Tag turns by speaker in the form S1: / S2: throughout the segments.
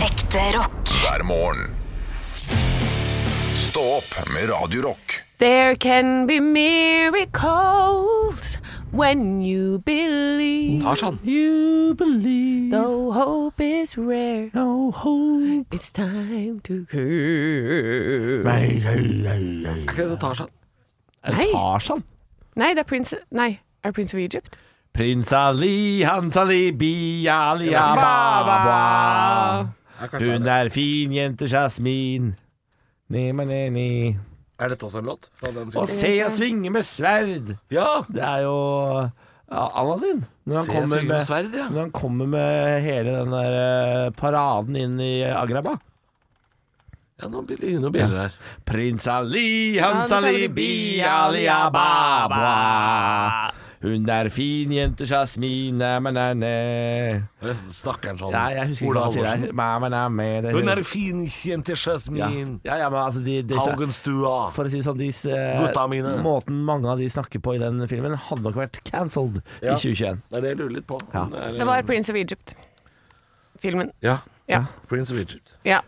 S1: Ekte rock.
S2: hver morgen. Stå opp med Radio Rock.
S3: There can be miracles when you believe.
S4: Tarzan.
S5: sånn.
S3: You believe. Though hope is rare. No hope. It's time to go. Nei.
S4: Er ikke det
S5: sånn.
S4: Tarzan?
S5: Er det
S3: Nei.
S5: Tarzan?
S3: det er prins... Nei, er det prins of Egypt?
S5: Prins Ali, Hans Ali, Bia Ali,
S3: Baba.
S5: Ababa.
S4: Ja, kanskje
S5: Hun
S4: det.
S5: er fin jente Jasmin. Ne, ma, ne, ne.
S4: Er dette også en låt? Fra den
S5: Og
S4: filmen?
S5: se jeg svinge med sverd.
S4: Ja!
S5: Det er jo ja, Aladdin. Når
S4: Se
S5: han,
S4: jeg
S5: kommer
S4: svinger med
S5: med,
S4: sverd, ja.
S5: når han kommer med hele den der eh, paraden inn i Agraba.
S4: ja nå blir det noen bjeller her.
S5: Prins Ali,
S3: Hans
S5: Hans
S3: Ali,
S5: Ali, Bia Ali, Ababa. Hun er fin jente Jasmin, ne, ma, ne, ne.
S4: Nå Snakker han sånn?
S5: Ja, jeg husker ikke hva han sier der. Ma, ma, ne, me, det-
S4: Hun er fin, jente
S5: ja.
S4: Jasmin.
S5: ja, ja, men altså de, de,
S4: Haugenstua.
S5: For å si det sånn, de, eh,
S4: Gutta mine.
S5: måten mange av de snakker på i den filmen, hadde nok vært cancelled
S4: Ja.
S5: i 2021.
S4: Det er det jeg lurer litt på.
S5: Ja.
S4: Hun er-
S3: Det var prins of Egypt. Filmen.
S4: ja.
S3: Ja.
S4: Prince of Egypt.
S3: Ja.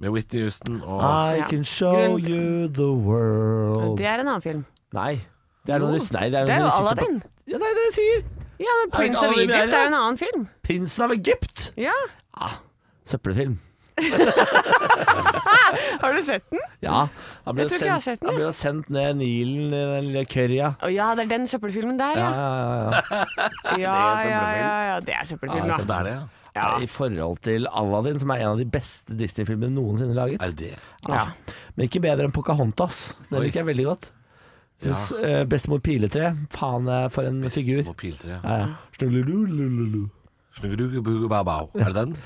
S4: Med Whitney Houston og
S5: I
S3: Ja.
S5: can show
S3: Grunn-
S5: you the world
S3: Det er en annen film.
S5: Nei. Det er noe
S3: Jo.
S5: du nei, det Oh. er,
S3: Det er jo
S5: noe du sitter på-
S3: Aladdin.
S5: Ja, det er det jeg sier.
S3: Ja, men Prince of
S5: Aladdin er
S3: Egypt
S5: det?
S3: er jo en annen film.
S5: Prinsen av Egypt.
S3: Ja.
S5: Søppelfilm.
S3: Har du sett den?
S5: Ja. Han ble
S3: Jeg tror ikke
S5: sendt,
S3: jeg har sett den,
S5: Han ble jo sendt ned Nilen i den lille currya.
S3: Å ja, det er den søppelfilmen der,
S5: Ja,
S3: ja.
S5: ja, ja, ja.
S3: Ja, ja, ja. ja,
S4: søppelfilm.
S3: Det er søppelfilm,
S5: Ja,
S3: da.
S4: Så det er det, ja.
S3: Ja.
S5: I forhold til Aladdin, som er en av de beste Disney-filmene noensinne laget.
S4: Er det det?
S3: Ja.
S5: Men ikke bedre enn Pocahontas. Den
S4: Oi.
S5: liker jeg veldig godt. Synes, eh, bestemor Piletre. Faen, eh, for en figur.
S4: Små piltre.
S5: Ja, ja. Snuggelulululu.
S4: Snuggeduggubabau. Er det den?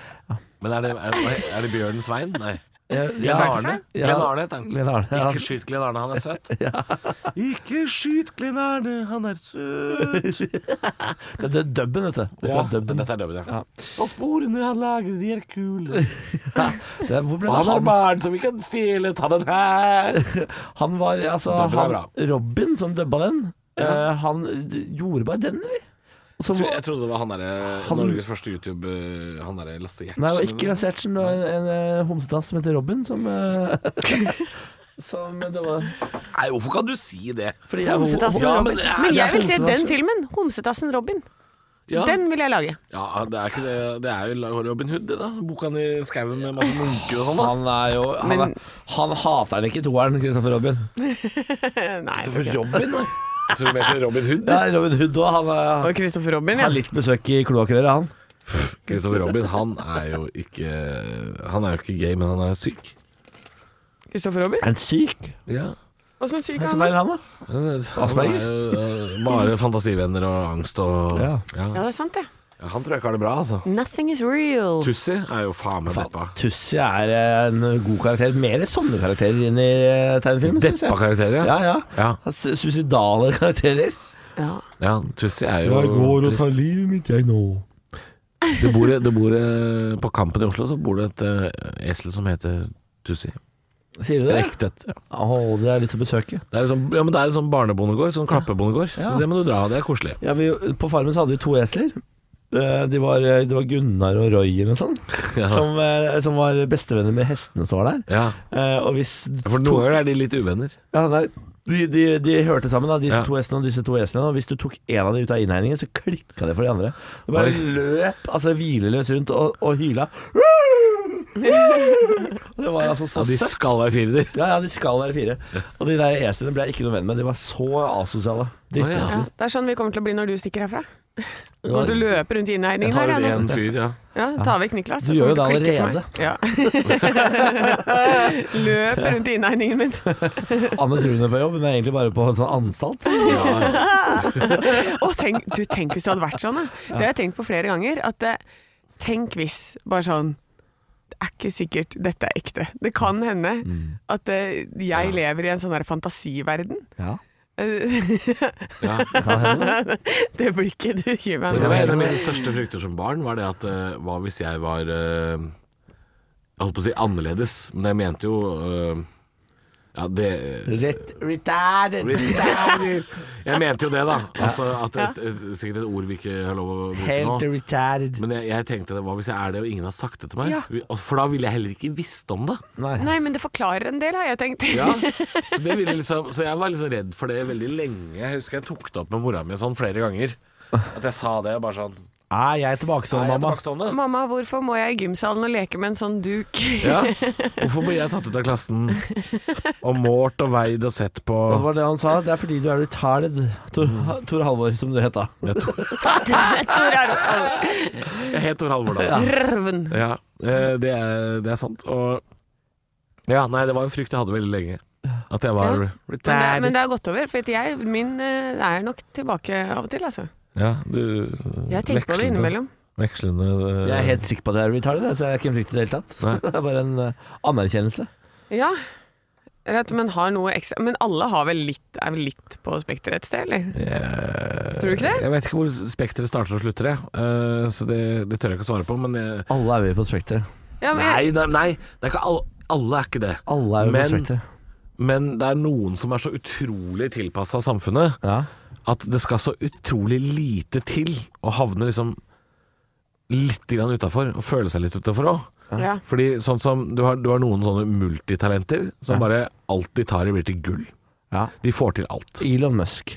S4: Men er det, er, det- er det Bjørn Svein? Nei.
S5: Ja,
S4: Glenn
S5: Eh, ja.
S4: Arne?
S5: Ja.
S4: Glenn Arne heter han.
S5: Glenn Arne, ja.
S4: Ikke skyt Glenn Arne, han er søt. Ikke skyt Glenn Arne, han er søt.
S5: Det det er dubben, vet du. Det er
S4: Ja,
S5: fra dubben.
S4: Dette er dubben, ja.
S5: Ja.
S4: Og sporene han lager, de er kule.
S5: Det er- Hvor
S4: Og
S5: ble det
S4: han har
S5: han
S4: barn som vi kan stjele, ta den her.
S5: Han var altså
S4: Dubben er
S5: han,
S4: bra.
S5: Robin som dubba den. eh, han d- gjorde bare den, eller? Og så
S4: Jeg,
S5: var-
S4: trodde det var han derre
S5: Han-
S4: Norges første YouTube eh, Han derre Lasse Gjertsen.
S5: Nei, det var ikke Lasse Gjertsen. Det var en, en eh, homsedass som heter Robin, som eh, Som dubba den.
S4: Nei, hvorfor kan du si det?
S5: Fordi jeg-
S3: Homsetassen
S4: Ja, men
S3: Robin.
S4: det er-
S3: Men
S5: det er
S3: jeg vil se den
S5: homsetassen.
S3: filmen. Homsetassen Robin.
S4: Ja,
S3: Den vil jeg lage.
S4: ja det, er ikke det. det er jo Robin Hood, det da. Boka han i skauen med masse munker og sånn. da
S5: Han er jo Han,
S3: Men-
S5: er, han hater den ikke, toeren, Kristoffer Robin.
S3: Eh, Nei.
S4: For Robin, da. Jeg tror du mente Robin Hood?
S5: Ja, Robin Hood òg. Han er-
S3: Og Kristoffer Robin,
S5: har
S3: ja.
S5: litt besøk i kloakkrøret, han.
S4: Kristoffer Robin, han er jo ikke Han er jo ikke gay, men han er syk.
S3: Kristoffer Robin?
S5: Er han syk?
S4: Ja.
S3: Åssen syk
S5: Hva
S3: er
S5: er
S3: han?
S5: han, da? Asperger?
S4: eh, Bare fantasivenner og angst og
S5: Ja.
S3: Ja, det er sant, det.
S4: Ja, Han tror jeg ikke har det bra, altså.
S3: Nothing is real.
S4: Tussi er jo faen meg deppa.
S5: Tussi er en god karakter. Mer sånne karakterer inn i eh, tegnefilmen, syns jeg.
S4: Deppa-karakterer,
S5: Ja, ja.
S4: ja.
S5: Han s- Suicidale karakterer.
S3: Ja.
S4: Ja, Tussi er jo trist.
S5: livet mitt, jeg nå.
S4: Det bor, det bor eh, På Kampen i Oslo så bor det et eh, esel som heter Tussi.
S5: Sier du det?
S4: Ekte et. Ja.
S5: Å, det er litt å besøke.
S4: Det er liksom, ja, men det er en sånn barnebondegård, sånn klappebondegård. Så det må du dra, det er koselig.
S5: Ja, vi, på farmen så hadde vi to esler. Eh, De var, det var Gunnar og Roy eller noe sånt,
S4: Ja.
S5: som, eh, som var bestevenner med hestene som var der.
S4: Ja.
S5: Eh, Og hvis
S4: For noen ganger er de litt uvenner.
S5: Ja, nei, de, de, de hørte sammen, da, disse
S4: Ja.
S5: to hestene og disse to hestene. Og hvis du tok en av de ut av innhegningen, så klikka det for de andre. Det bare
S4: Oi.
S5: løp altså hvileløs rundt og, og hyla. Og det var altså så
S4: Ja, de
S5: søtt.
S4: skal være fire, de.
S5: Ja, ja, de skal være fire. Og de der eslene ble jeg ikke noe venn med. De var så asosiale.
S4: Å,
S3: Ja,
S5: Drittesler.
S3: det er sånn vi kommer til å bli når du stikker herfra.
S5: Det var-
S3: Når du løper rundt i innhegningen
S5: Jeg tar
S3: her.
S5: ut
S3: Ja,
S5: en.
S3: nå.
S4: En fyr, ja.
S3: ja, ta vekk Niklas.
S5: Du gjør jo det
S3: kommer til å
S5: allerede.
S3: klikke for meg. Ja. Løp rundt i innhegningen min.
S5: Anne tror hun er på jobb, hun er egentlig bare på en sånn anstalt.
S3: Å, tenk, du, tenk hvis det hadde vært sånn, da. Det har jeg tenkt på flere ganger. At eh, tenk hvis, bare sånn Det er ikke sikkert dette er ekte. Det kan hende
S4: Mm.
S3: at eh, jeg lever i en sånn der fantasiverden.
S5: Ja,
S3: Eh,
S4: ja.
S5: det kan hende.
S3: det blikket du gir meg
S4: Det
S3: nå.
S4: var en av mine største frykter som barn, var det at eh, hva hvis jeg var eh, Jeg holdt på å si annerledes, men jeg mente jo eh, Ja, det
S5: Rett retarded.
S4: Jeg mente jo det, da. Altså, at et, et, sikkert et ord vi ikke har lov å
S5: Helt
S4: bruke nå.
S5: retarded.
S4: Men jeg, jeg tenkte hva hvis jeg er det og ingen har sagt det til meg?
S3: Ja.
S4: Vi- og- For da ville jeg heller ikke visst om det.
S5: Nei.
S3: Nei, men det forklarer en del, har jeg tenkt.
S4: Ja, så, det ville liksom, så jeg var liksom redd for det veldig lenge. Jeg husker jeg tok det opp med mora mi sånn flere ganger. At jeg sa det bare sånn «Nei,
S5: Er Ah, jeg
S4: jeg
S5: tilbakestående,
S4: er
S5: mamma?
S4: tilbakestående.
S3: Mamma, hvorfor må jeg i gymsalen og leke med en sånn duk?
S4: Ja. Hvorfor ble jeg tatt ut av klassen og målt og veid og sett på
S5: Og Det var det han sa. Det er fordi du er retarded, Tor, Tor Halvor, som du het da.
S4: Jeg to-
S3: Tor Arvold.
S4: Jeg het Tor Halvor da.
S3: Røven.
S4: Ja, eh, det er, det er sant. Og ja, nei, det var en frykt jeg hadde veldig lenge. At jeg var
S3: Ja. Men det, men det er gått over, for jeg, min eh, er nok tilbake av og til, altså.
S4: Ja, du
S3: Jeg tenker på det
S4: vekslende-
S3: innimellom.
S4: Vekslende eh,
S5: Jeg er helt sikker på at jeg er retarded, altså, jeg, så jeg er ikke en frykt i det hele tatt.
S4: Nei.
S5: Det er bare en eh, anerkjennelse.
S3: Ja. Rett, men har noe ekstra Men alle har vel litt, er vel litt på spekteret et sted, eller?
S4: eh,
S3: Tror du ikke det?
S4: Jeg vet ikke hvor spekteret starter og slutter, jeg. Eh, så det, det tør jeg ikke å svare på. Men jeg,
S5: Alle er vi på spekteret.
S3: Ja, men jeg,
S4: nei, det, er- nei, det er ikke alle. Alle er ikke det.
S5: Alle er vi på
S4: Men-
S5: spekteret.
S4: Men det er noen som er så utrolig tilpassa samfunnet
S5: Ja.
S4: at det skal så utrolig lite til å havne liksom litt utafor, og føle seg litt utafor òg.
S3: ja.
S4: Fordi sånn som du har, du har noen sånne multitalenter som bare alt de tar i blir til gull.
S5: ja.
S4: De får til alt.
S5: Elon Musk.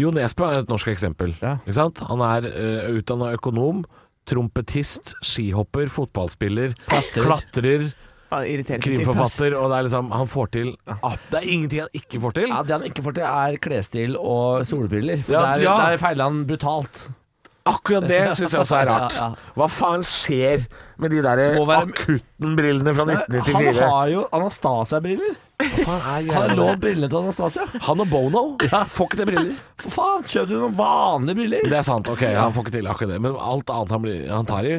S4: Jo Nesbø er et norsk eksempel.
S5: Ja.
S4: Ikke sant? Han er uh, utdanna økonom, trompetist, skihopper, fotballspiller,
S5: Klatrer.
S4: klatrer
S3: Faen, irriterende type, ass.
S4: krimforfatter, og det er liksom Han får til ah, Det er ingenting han ikke får til.
S5: Ja, Det han ikke får til, er klesstil og solbriller. For
S4: Ja,
S5: der,
S4: ja.
S5: der feiler han brutalt.
S4: Akkurat det syns jeg også er rart.
S5: Ja, ja.
S4: Hva faen skjer med de der
S5: Må være-
S4: akuttenbrillene fra
S5: Han
S4: 1994?
S5: har jo Anastasia-briller.
S4: Hva faen er
S5: Han har
S4: greia med
S5: lånt
S4: det?
S5: brillene til Anastasia.
S4: Han og Bono får ikke til briller.
S5: For faen, kjøp du noen vanlige briller?
S4: Det er sant, ok, han får ikke til akkurat det. Men alt annet han, blir, han tar i,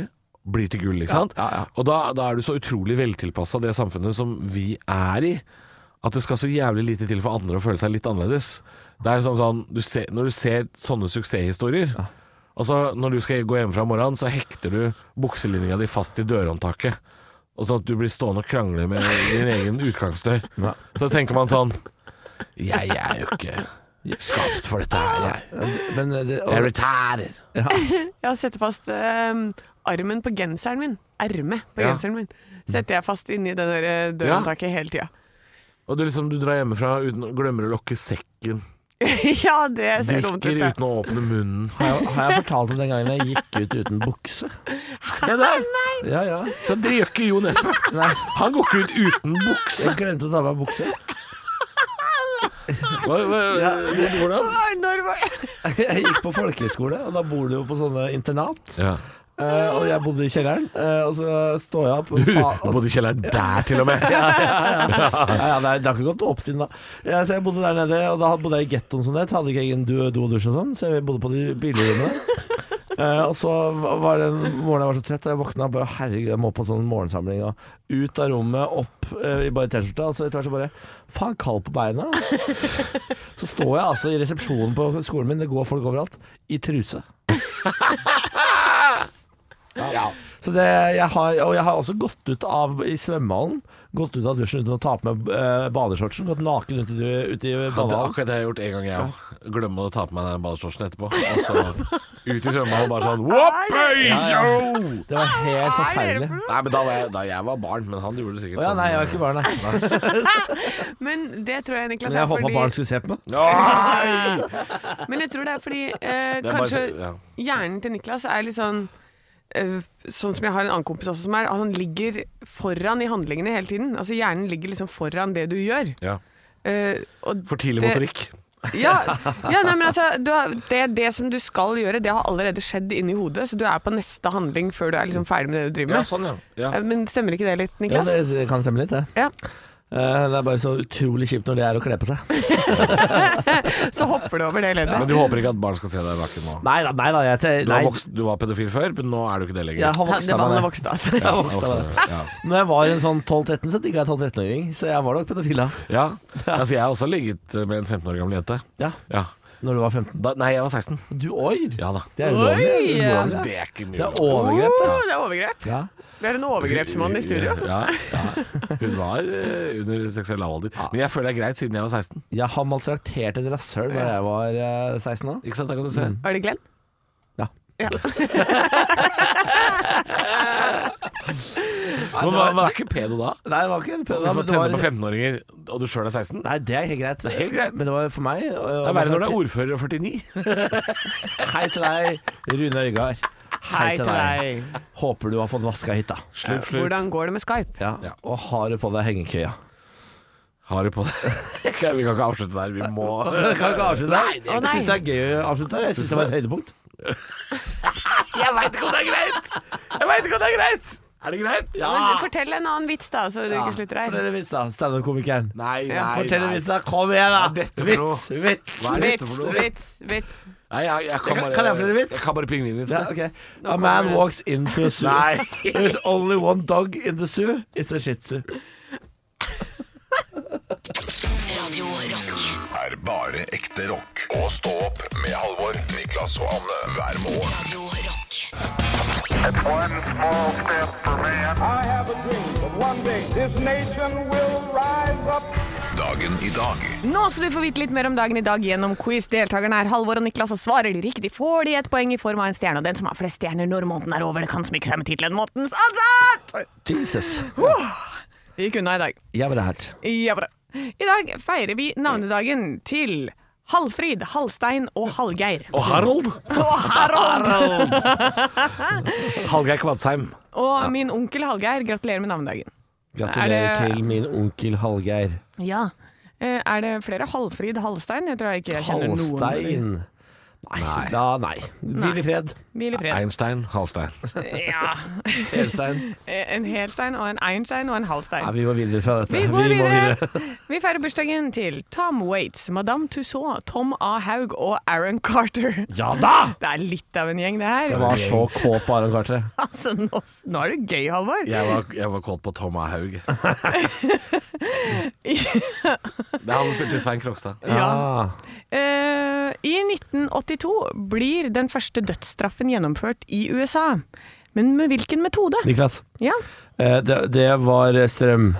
S4: blir til gull, ikke sant?
S5: ja, ja.
S4: Og da, da er du så utrolig veltilpassa det samfunnet som vi er i, at det skal så jævlig lite til for andre å føle seg litt annerledes. Det er sånn sånn, du ser, Når du ser sånne suksesshistorier Altså, Når du skal gå hjemmefra om morgenen, så hekter du bukselinja di fast i dørhåndtaket. Og Sånn at du blir stående og krangle med din egen utgangsdør. Så tenker man sånn Jeg er jo ikke skapt for dette her, jeg.
S5: Men det,
S4: Jeg er retarded.
S3: Jeg setter fast ehm, armen på genseren min. Ermet på
S4: Ja.
S3: genseren min. Setter jeg fast inni det der eh, dørhåndtaket hele tida.
S4: Og du liksom, du drar hjemmefra uten, glemmer å lokke sekken.
S3: ja, det ser dumt ut.
S4: Drikker
S3: det.
S4: uten å åpne munnen.
S5: har, jeg, har jeg fortalt om den gangen jeg gikk ut uten bukse? Ja, ja.
S4: Så det gjør ikke Jo Nesbø.
S5: Nei,
S4: Han går ikke ut uten bukse.
S5: jeg glemte å ta av meg bukse.
S4: Hva, hva, hvordan?
S3: Hva- Når var
S5: Jeg gikk på folkehøyskole, og da bor du jo på sånne internat.
S4: Ja.
S5: Eh, og jeg bodde i kjelleren, eh, og så står jeg opp
S4: Du,
S5: faen,
S4: du bodde i kjelleren der til og med.
S5: ja, ja, det, er, det har ikke gått opp siden da. Ja, så jeg bodde der nede, og da bodde jeg i gettoen som det. het. Hadde ikke egen do, do og dusj og sånn, så jeg bodde på de billigrommene. Eh, og så var det en morgen jeg var så trett, og jeg våkna bare Herregud, jeg må på sånn morgensamling. Og ut av rommet, opp eh, i bare T-skjorta, og så etter hvert så bare Faen, kald på beina. så står jeg altså i resepsjonen på skolen min, det går folk overalt, i truse. Ja. Så det, jeg har, og jeg har også gått ut av i svømmehallen. Gått ut av dusjen uten å ta på meg eh, badeshortsen. Gått naken ut i, ut i
S4: Ja, det er
S5: badehallen.
S4: akkurat det jeg har gjort en gang, jeg òg. Glemme å ta på meg den badeshortsen etterpå. Og så ut i svømmehallen bare sånn Whoppei, yo!
S5: Det var helt forferdelig.
S4: Nei, men da var jeg, da jeg var barn, men han gjorde det sikkert sånn.
S5: Å ja, nei, jeg var ikke barn, nei.
S3: Men det tror jeg Niklas
S5: Men
S3: er
S5: jeg håpa
S3: fordi
S5: barn skulle se på meg.
S4: Nei!
S3: Men jeg tror det er fordi eh,
S4: Det er bare
S3: kanskje
S4: så- ja.
S3: hjernen til Niklas er litt sånn eh, Sånn som jeg har en annen kompis også som er, at han ligger foran i handlingene hele tiden. Altså hjernen ligger liksom foran det du gjør.
S4: Ja.
S3: Eh, og
S4: For tidlig
S3: det-
S4: motorikk.
S3: Ja, ja nei, men altså du har, det, det som du skal gjøre, det har allerede skjedd inni hodet, så du er på neste handling før du er liksom ferdig med det du driver
S4: Ja,
S3: med.
S4: sånn, ja. ja.
S3: Eh, Men stemmer ikke det litt,
S5: Ja,
S3: Niklas?
S5: det kan stemme litt, det.
S3: Ja.
S5: Eh, det er bare så utrolig kjipt når det er å kle på seg.
S3: Så hopper du over det
S4: Men
S3: leddet.
S4: du håper ikke at barn skal se deg naken nå?
S5: Nei da, nei da. Jeg, te-
S4: Du
S5: nei,
S4: var, vokst, du var pedofil før, men nå er du ikke det lenger.
S5: jeg har vokst
S3: Det var
S5: av meg.
S3: han
S5: det.
S3: vokste, altså.
S5: Jeg har
S4: Jeg
S5: vokst av meg det.
S4: vokste, ja.
S5: Når jeg var en sånn 12-13, så digga jeg 12-13-åring, så jeg var nok pedofil da.
S4: Ja. Altså, jeg har også ligget med en 15 år gammel jente.
S5: Ja,
S4: Ja.
S5: når du var 15.
S4: Da, nei, jeg var 16.
S5: Du, oi!
S4: Ja da.
S5: Det er
S3: Oi,
S5: ulovlig.
S3: ja.
S5: Ulovlig.
S4: Det er ikke mye.
S5: Det er overgrep,
S3: Åh, det er overgrep.
S5: Ja.
S3: Vi har en overgrepsmann i studio.
S4: Ja, ja. Hun var eh, under seksuell lavalder. Men jeg føler det er greit, siden jeg var 16.
S5: Jeg har maltraktert et rasshøl da jeg var eh, 16 år.
S4: Ikke sant, da kan
S5: Mm.
S4: du se.
S3: Var det Glenn?
S5: Ja.
S3: Ja.
S4: Men man, man er ikke pedo da?
S5: Nei, det var ikke en pedo.
S4: Hvis
S5: men
S4: man
S5: det var-
S4: tenner på 15-åringer, og du sjøl er 16?
S5: Nei, det er helt greit.
S4: er helt greit.
S5: Men det var for meg
S4: Det er verre når det er ordfører og 49.
S5: Hei til deg, Rune Øygard.
S3: Hei til deg.
S5: Håper du har fått vaska hytta.
S4: Slutt, slutt.
S3: Hvordan går det med Skype?
S5: Ja.
S4: Ja.
S5: Og har du på deg hengekøya?
S4: Har du på det? Vi kan ikke avslutte der. Vi må
S5: Jeg kan ikke avslutte der.
S3: Å,
S5: Jeg
S3: nei.
S5: syns det er gøy å avslutte der. Jeg syns det var et høydepunkt.
S4: Jeg veit ikke om det er greit! Jeg veit ikke om det er greit! Er det greit?
S3: Men fortell en annen vits, da, så du ikke slutter her.
S5: Fortell en vits, da. Standup-komikeren.
S4: Nei, nei,
S3: Ja,
S5: Fortell en
S4: nei.
S5: vits, da. Kom igjen,
S4: Hva er
S5: da.
S4: dette for
S5: Vits, vits.
S4: Hva er dette
S3: Vits,
S4: for noe?
S3: vits, vits.
S4: Nei, jeg, jeg kan,
S5: Kan-
S4: bare,
S5: kan jeg få en vits?
S4: Jeg kan bare pingvinvits.
S5: Ja, ok. A man walks into a zoo.
S4: Nei.
S5: There's only one dog in the zoo. It's a shih tzu.
S1: Radio Rock.
S2: Er bare ekte rock. Og stå opp med Halvor, Niklas og Anne hver morgen.
S1: Radio Rock.
S6: It's one small step for man.
S7: I have a dream that one day this nation will rise up.
S2: Dagen i dag
S3: Nå skal du få vite litt mer om dagen i dag gjennom quiz. Deltakerne er Halvor og Niklas, og svarer de riktig, får de et poeng i form av en stjerne. Og den som har flest stjerner når måneden er over, det kan smykke seg med tittelen 'Månedens ansatt'!
S5: Jesus.
S3: Vi gikk unna i dag.
S5: Jeg var det her.
S3: Ja, bra. I dag feirer vi navnedagen til Halfrid, Halstein og Hallgeir.
S4: Og Harold.
S3: Og Harald!
S4: Hallgeir Kvadsheim.
S3: Og min onkel Hallgeir, gratulerer med navnedagen. Er
S5: Gratulerer
S3: det-
S5: til min onkel Hallgeir.
S3: Ja. Eh, Er det flere Halfrid Halstein? Jeg tror jeg ikke jeg kjenner noen.
S5: Hallstein. Nei. Da, nei. Hvil i fred.
S3: Hvil i fred.
S4: Einstein. Hallstein.
S3: Ja. Eh,
S5: Helstein.
S3: En helstein og en einstein og en halvstein.
S5: Nei, vi må videre fra dette.
S3: Vi går
S5: må
S3: videre. Vi feirer bursdagen til Tom Waits, Madame Tussaud, Tom A. Haug og Aaron Carter.
S5: Ja da!
S3: Det er litt av en gjeng, det her.
S5: Jeg var så kåt på Aron Carter.
S3: Altså, nå, nå er det gøy, Halvor.
S4: Jeg var, jeg var kåt på Tom A. Haug. Det er han som spilte Svein Krokstad.
S5: Ah.
S3: Eh, I 1982 blir den første dødsstraffen gjennomført i USA. Men med hvilken metode?
S5: Niklas,
S3: Ja,
S5: eh, det, det var strøm.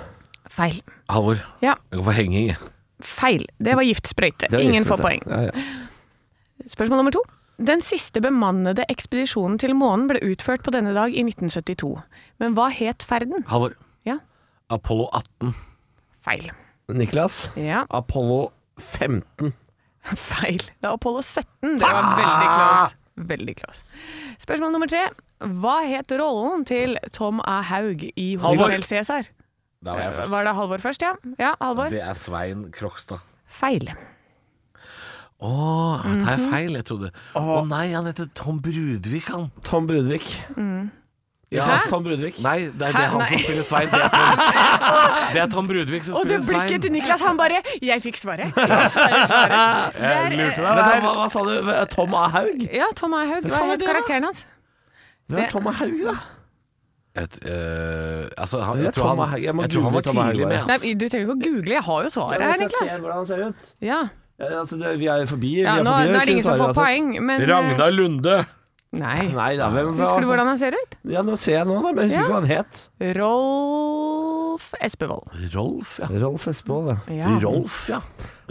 S3: feil.
S4: Halvor,
S3: Ja,
S4: jeg kan få henge i.
S3: feil. Det var giftsprøyte.
S5: Det var
S3: Ingen får
S5: giftsprøyte.
S3: poeng.
S5: Ja, ja.
S3: Spørsmål nummer to. Den siste bemannede ekspedisjonen til månen ble utført på denne dag i 1972. Men hva het ferden?
S4: Halvor.
S3: Ja,
S4: Apollo 18.
S3: feil.
S5: Niklas,
S3: Ja,
S5: Apollo 15.
S3: feil. Det var Apollo 17. Det
S5: Ah!
S3: var veldig close. Veldig close. Spørsmål nummer tre. Hva het rollen til Tom A. Haug i
S4: Halvor.
S3: Hotel Cæsar?
S4: Der var jeg først.
S3: Var det Halvor først, ja? Ja, Halvor.
S4: Det er Svein Krokstad.
S3: Feil.
S4: Å, tar
S3: Mhm.
S4: jeg feil? Jeg trodde Å nei, han heter Tom Brudvik, han.
S5: Tom Brudvik.
S3: Mm.
S5: Niklas, Tom Brudvik.
S4: Nei, det er, det
S3: Hæ?
S4: er han som
S3: Nei.
S4: spiller Svein. Det er Tom, det er Tom Brudvik som
S3: Og det
S4: spiller Svein.
S3: blikket til Niklas, han bare 'Jeg fikk svaret'. Jeg svarer, svaret.
S4: Jeg
S3: Der,
S4: lurte deg.
S5: Men da, hva, hva sa du? Tom A. Haug?
S3: eh, ja, Tom A. Haug. Hva
S5: faen er
S3: het
S5: det da?
S3: karakteren hans?
S5: Hvem
S3: Det-
S5: er Tom A. Haug, da?
S4: Et, øh, altså, han,
S5: Det er
S4: jeg tror
S5: Tom
S4: han,
S5: Hagen. Jeg
S4: jeg
S5: må
S4: tror han var
S5: google Tom Hagen
S4: tidlig med.
S5: bare.
S3: Nei,
S4: ass.
S3: du trenger ikke å google, jeg har jo svaret her,
S5: Hvis jeg ser
S3: Niklas.
S5: hvordan han ser ut.
S3: Ja,
S5: Ja, altså, det- vi er jo forbi.
S3: ja
S5: vi er
S3: nå,
S5: forbi
S3: nå er det ingen som får
S5: svaret uansett.
S3: poeng, men eh,
S4: Ragnar Lunde!
S3: Nei.
S5: Nei da, hvem
S3: Husker du hvordan han ser ut?
S5: Ja, nå ser jeg nå, da, men jeg husker
S3: Ja.
S5: ikke hva han het.
S3: Rolf Espevold.
S4: Rolf, ja.
S5: Rolf Espevold, ja.
S3: Ja.
S4: Rolf, ja.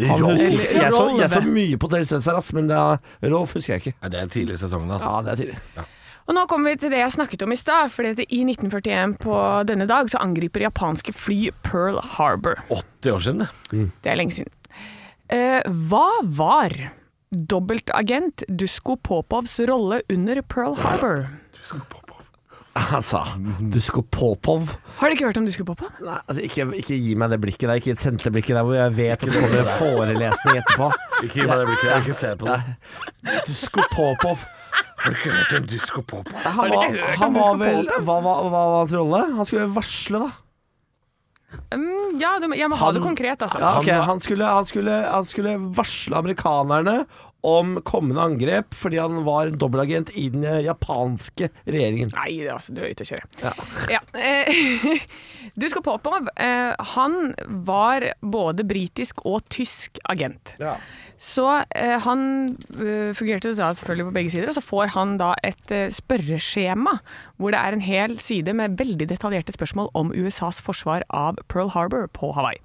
S5: Han
S4: Rolf.
S5: husker, jeg, så, jeg så
S3: Rolf.
S5: mye på Hotel Cæsar, ass, men det er Rolf husker jeg ikke.
S4: Nei, det er tidlig i sesongen, altså.
S5: Ja, det er tidlig.
S3: Og nå kommer vi til det jeg snakket om i stad, for i 1941 på denne dag så angriper japanske fly Pearl Harbor.
S4: 80 år siden, det.
S3: Det er lenge siden. Eh, hva var dobbeltagent Dusko Popovs rolle under Pearl Harbor?
S5: Altså, Dusko Popov.
S3: Har du ikke hørt om Dusko Popov?
S5: Nei, altså, ikke, ikke gi meg det blikket der, ikke tente blikket der hvor jeg vet det kommer en forelesning etterpå.
S4: Ikke gi meg det blikket. Ikke se på det.
S5: Dusko Popov.
S4: Har du ikke hørt om Disco Pop?
S5: Han
S3: du ikke
S5: var,
S3: hørt
S5: han
S3: om
S5: var
S3: Dusko
S5: vel
S3: Popov?
S5: Hva hva- hva var hans rolle? Han skulle varsle, da.
S3: Mm, ja, du, må- jeg må ha
S5: Han-
S3: det konkret, altså.
S5: Ja, ok,
S4: Han var-
S5: han, skulle, han, skulle, han skulle varsle amerikanerne om kommende angrep fordi han var en dobbeltagent i den japanske regjeringen.
S3: Nei, altså, du er ute å kjøre. Ja. Eh, Du skal på Popov. Eh, han var både britisk og tysk agent.
S5: Ja.
S3: Så eh, han eh, fungerte da selvfølgelig på begge sider, og så får han da et eh, spørreskjema hvor det er en hel side med veldig detaljerte spørsmål om USAs forsvar av Pearl Harbor på Hawaii.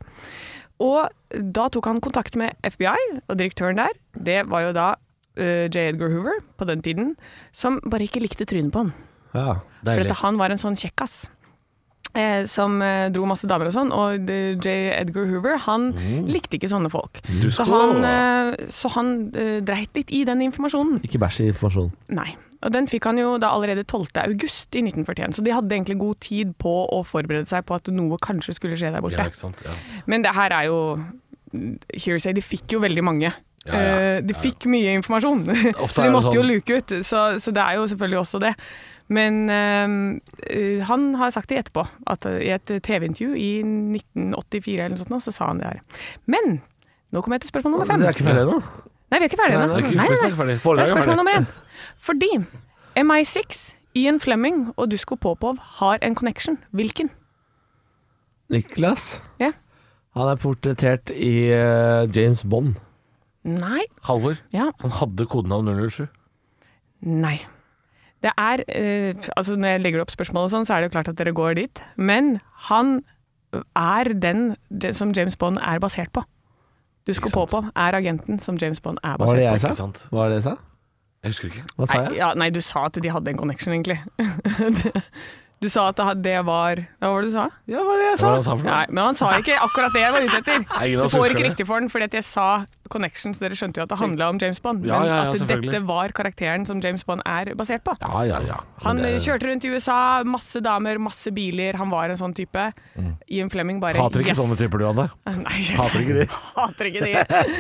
S3: Og da tok han kontakt med FBI og direktøren der. Det var jo da eh, J. Edgar Hoover på den tiden, som bare ikke likte trynet på han.
S5: Ja.
S3: For at han var en sånn kjekkas. Eh, som eh, dro masse damer og sånn. Og det- J. Edgar Hoover han
S4: Mm.
S3: likte ikke sånne folk. Så han, eh, så han eh, dreit litt i den informasjonen.
S5: Ikke bæsj i informasjonen.
S3: Nei. Og den fikk han jo da allerede 12. august i 1941, så de hadde egentlig god tid på å forberede seg på at noe kanskje skulle skje der borte.
S4: ikke sant? Ja.
S3: Men det her er jo Hearsay, de fikk jo veldig mange.
S4: Ja, ja,
S3: Eh, De fikk mye informasjon, så
S4: er
S3: de
S4: det
S3: måtte jo
S4: sånn-
S3: luke ut. Så, så det er jo selvfølgelig også det. Men eh, han har sagt det etterpå, at eh, i et TV-intervju i 1984 eller noe sånt, nå, så sa han det her. Men nå kommer jeg til spørsmål nummer fem.
S5: Det er ikke ferdig ennå.
S3: Nei, vi er ikke ferdige
S5: Nei,
S3: ennå.
S5: det
S4: er ikke-
S3: Nei,
S4: quizen
S3: nei,
S4: er ikke
S3: nei.
S4: ferdig.
S3: Det
S4: Foreløpig
S3: er
S4: er
S3: spørsmål
S4: ferdig.
S3: nummer én. Fordi MI6, Ian Fleming og Dusko Popov har en connection. Hvilken?
S5: Niklas
S3: Ja.
S5: Han er portrettert i eh, James Bond.
S3: Nei.
S4: Halvor,
S3: Ja.
S4: han hadde kodenavn 007.
S3: Nei. Det er eh, Altså, når jeg legger opp spørsmål og sånn, så er det jo klart at dere går dit. Men han er den j- som James Bond er basert på. Du skal på på, er agenten som James Bond er
S5: Hva var
S3: basert på.
S5: det jeg
S4: ikke
S5: sa?
S4: sant?
S5: Hva var det jeg sa?
S4: Jeg husker ikke.
S5: Hva sa
S3: Nei,
S5: jeg?
S3: ja, nei, du sa at de hadde en connection, egentlig. du sa at det var Hva var det du sa?
S5: Ja, hva var det
S4: Hva
S5: jeg
S4: var
S5: sa?
S4: det han sa for noe?
S3: Nei, men han sa ikke akkurat det jeg var ute etter.
S4: Nei, ingen
S3: Du
S4: av oss
S3: får
S4: husker
S3: ikke
S4: det.
S3: riktig for den, fordi at jeg sa connection, så dere skjønte jo at det handla om James Bond. Men
S4: Ja, ja, ja,
S3: at
S4: selvfølgelig.
S3: dette var karakteren som James Bond er basert på.
S4: Ja, ja, ja.
S3: Han
S4: Men det-
S3: kjørte rundt i USA, masse damer, masse biler. Han var en sånn type. Ian Fleming bare
S4: Mm. Hater ikke
S3: yes.
S4: sånne typer du hadde.
S3: Nei,
S4: Hater ikke de.
S3: Hater ikke de.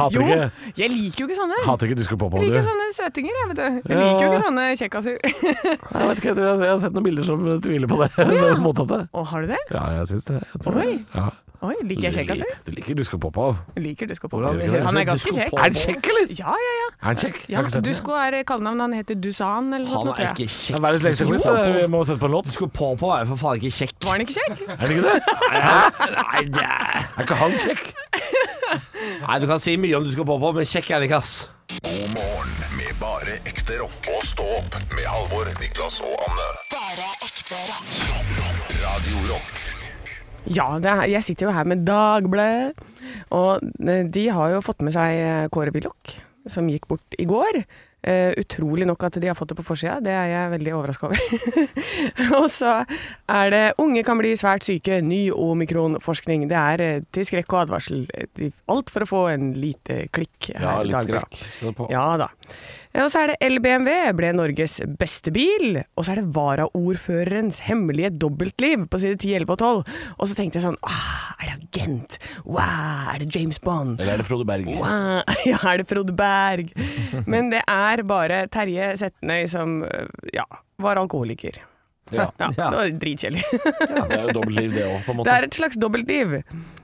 S4: Hater
S3: Jo,
S4: ikke,
S3: jeg liker jo ikke sånne.
S4: hater ikke Disco Pop.
S3: jeg
S4: du.
S3: liker sånn. sånne søtinger, jeg, vet du. Jeg
S4: Ja.
S3: liker jo ikke sånne kjekkaser.
S4: Nei, Jeg vet ikke, jeg, tror jeg, jeg har sett noen bilder som tviler på det. Så det motsatte.
S3: Å, har du det?
S4: Ja, jeg syns det. Jeg tror
S3: Oi.
S4: det. Ja.
S3: Oi, liker jeg altså? kjekkaser?
S4: Du liker Dusko Popov.
S3: Liker Dusko på.
S5: Hvordan i
S3: Han er
S5: helvete
S3: ganske
S5: Dusko
S3: kjekk.
S5: Popov? Er han
S4: kjekk, eller?
S3: Ja, ja, ja.
S4: Er han kjekk? Jeg
S3: ja
S4: har ikke sett den.
S3: Dusko er kallenavn. Han heter Dusan eller noe
S5: Han
S3: sånt.
S5: er
S3: tror jeg.
S5: ikke
S4: Det er
S5: kjekk.
S4: verdens lengste quiz. det. Vi må sette på en låt.
S5: Du skulle på på, er jo for faen ikke kjekk.
S3: Var han ikke kjekk?
S4: Er det ikke det?
S5: Nei, det er...
S4: Er ikke han kjekk?
S5: Nei, du kan si mye om du skal på på, men kjekk er det ikke, ass.
S2: God morgen med bare ekte rock. Og stå opp med Halvor, Niklas og Anne.
S1: Bare ekte rock.
S2: Radio Rock.
S3: Ja, det er, jeg sitter jo her med Dagbladet, og eh, de har jo fått med seg eh, Kåre Willoch, som gikk bort i går. Eh, utrolig nok at de har fått det på forsida, det er jeg veldig overraska over. og så er det 'Unge kan bli svært syke, ny omikronforskning'. Det er eh, til skrekk og advarsel. Eh, de- Alt for å få en lite klikk her i Dagbladet.
S4: Skal du på.
S3: Ja da. Ja, Og så er det LBMW ble Norges beste bil. Og så er det varaordførerens hemmelige dobbeltliv på side 10, 11 og 12. Og så tenkte jeg sånn ah, Er det agent? Wow, er det James Bond?
S4: Eller er det Frode Berg?
S3: Wow, ja, er det Frode Berg? Men det er bare Terje Setnøy som øh, ja, var alkoholiker.
S4: Ja.
S3: Ja, Det var dritkjedelig.
S4: Det er jo dobbeltliv, det òg, på
S3: Det
S4: en måte.
S3: er et slags dobbeltliv.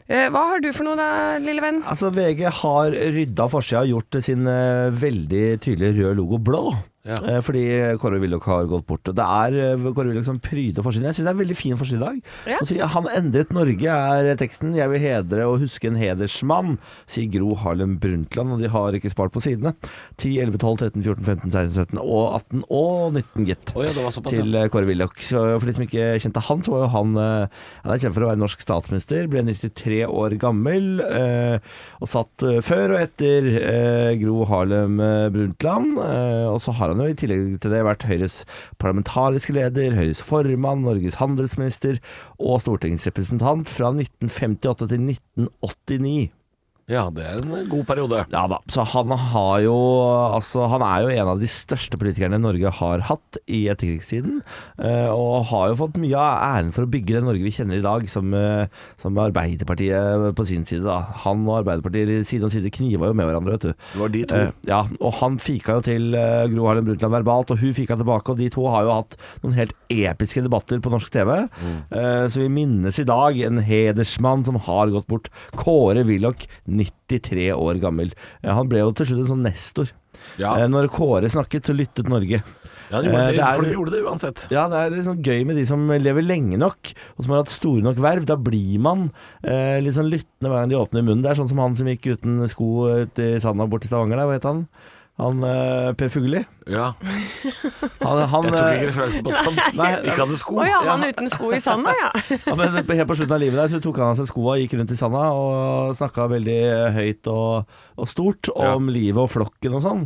S3: Eh, Hva har du for noe da, lille venn?
S5: Altså, VG har rydda forsida og gjort sin eh, veldig tydelige røde logo blå.
S4: Ja.
S5: Eh, fordi Kåre Willoch har gått bort. Og det er eh, Kåre Willoch som pryder forsiden. Jeg syns det er en veldig fin forside i dag.
S3: Ja.
S5: Og sier, han endret Norge, er teksten. Jeg vil hedre og huske en hedersmann, sier Gro Harlem Brundtland. Og de har ikke spart på sidene. 10, 11, 12, 13, 14, 15, 16, 17 og 18 og 19, gitt
S4: Å ja, det var såpass.
S5: til eh, Kåre Willoch. Så For de som ikke kjente han, så var jo han eh, Han er kjent for å være norsk statsminister. Ble 93 år gammel eh, og satt eh, før og etter eh, Gro Harlem eh, Brundtland. eh, Og så har han jo i tillegg til det vært Høyres parlamentariske leder, Høyres formann, Norges handelsminister og stortingsrepresentant fra 1958 til 1989.
S4: Ja, det er en god periode.
S5: Ja da, så han har jo Altså, han er jo en av de største politikerne Norge har hatt i etterkrigstiden. eh, Og har jo fått mye av æren for å bygge det Norge vi kjenner i dag, som, eh, som Arbeiderpartiet på sin side, da. Han og Arbeiderpartiet side om side kniva jo med hverandre, vet du.
S4: Det var de to.
S5: Eh, ja, og han fika jo til eh, Gro Harlem Brundtland verbalt, og hun fika tilbake, og de to har jo hatt noen helt episke debatter på norsk TV.
S4: Mm.
S5: Eh, så vi minnes i dag en hedersmann som har gått bort. Kåre Willoch, 93 år gammel. Eh, han ble jo til slutt en sånn nestor.
S4: Ja.
S5: Eh, når Kåre snakket, så lyttet Norge.
S4: Ja, de gjorde
S5: Eh,
S4: det,
S5: det er-
S4: for de gjorde det uansett.
S5: Ja, det er liksom gøy med de som lever lenge nok, og som har hatt store nok verv. Da blir man eh, litt sånn lyttende hver gang de åpner munnen. Det er sånn som han som gikk uten sko ut i sanda bort til Stavanger der, hva het han? Han eh, Per Fugelli.
S4: Ja,
S5: Han, han,
S4: jeg tok
S5: eh,
S4: ikke referansen på at han
S5: Nei,
S4: ikke hadde sko.
S3: Å ja, han uten sko i sanda, ja.
S5: ja, men helt på slutten av livet der så tok han av seg skoa, gikk rundt i sanda og snakka veldig høyt og, og stort om livet og flokken og sånn.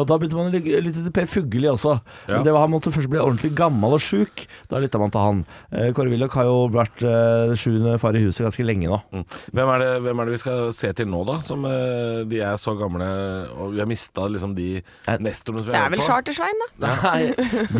S5: Og da begynte man å lyg- lytte til Per Fugelli også.
S4: Ja.
S5: Men det var, han måtte først bli ordentlig gammel og sjuk. Da lytta man til han. Eh, Kåre Willoch har jo vært eh, sjuende far i huset ganske lenge nå.
S4: Mm. Hvem er, det, hvem er det vi skal se til nå, da? Som eh, de er så gamle og vi har mista liksom de
S5: Eh,
S4: nestorene som vi
S3: Det
S4: har
S3: er vel
S4: hørt på?
S3: Charter-Svein, da.
S5: Nei,